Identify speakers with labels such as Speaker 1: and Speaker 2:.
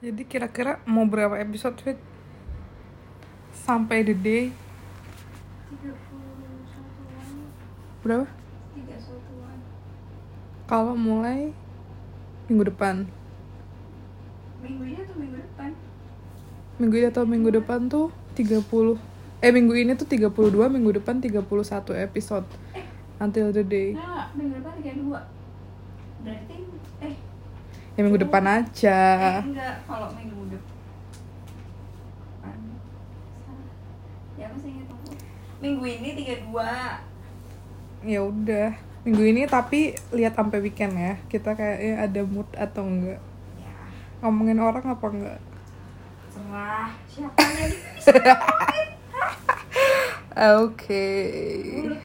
Speaker 1: Jadi kira-kira mau berapa episode Fit? Sampai the day
Speaker 2: 31-an
Speaker 1: berapa?
Speaker 2: 31-an
Speaker 1: Kalau mulai minggu depan.
Speaker 2: minggu ini atau minggu depan
Speaker 1: Minggu ini atau minggu depan tuh 30. Eh minggu ini tuh 32, minggu depan 31 episode. Until the day.
Speaker 2: nah Eh, minggu depan 32 berarti eh
Speaker 1: Ya minggu depan
Speaker 2: eh
Speaker 1: aja.
Speaker 2: enggak kalau minggu depan salah. ya apa sih ngitung gua? minggu ini 32
Speaker 1: Ya udah. Minggu ini tapi lihat sampai weekend ya. Kita kayaknya ada mood atau enggak.
Speaker 2: ya
Speaker 1: Ngomongin orang apa enggak?
Speaker 2: serah siapa yang
Speaker 1: Oke.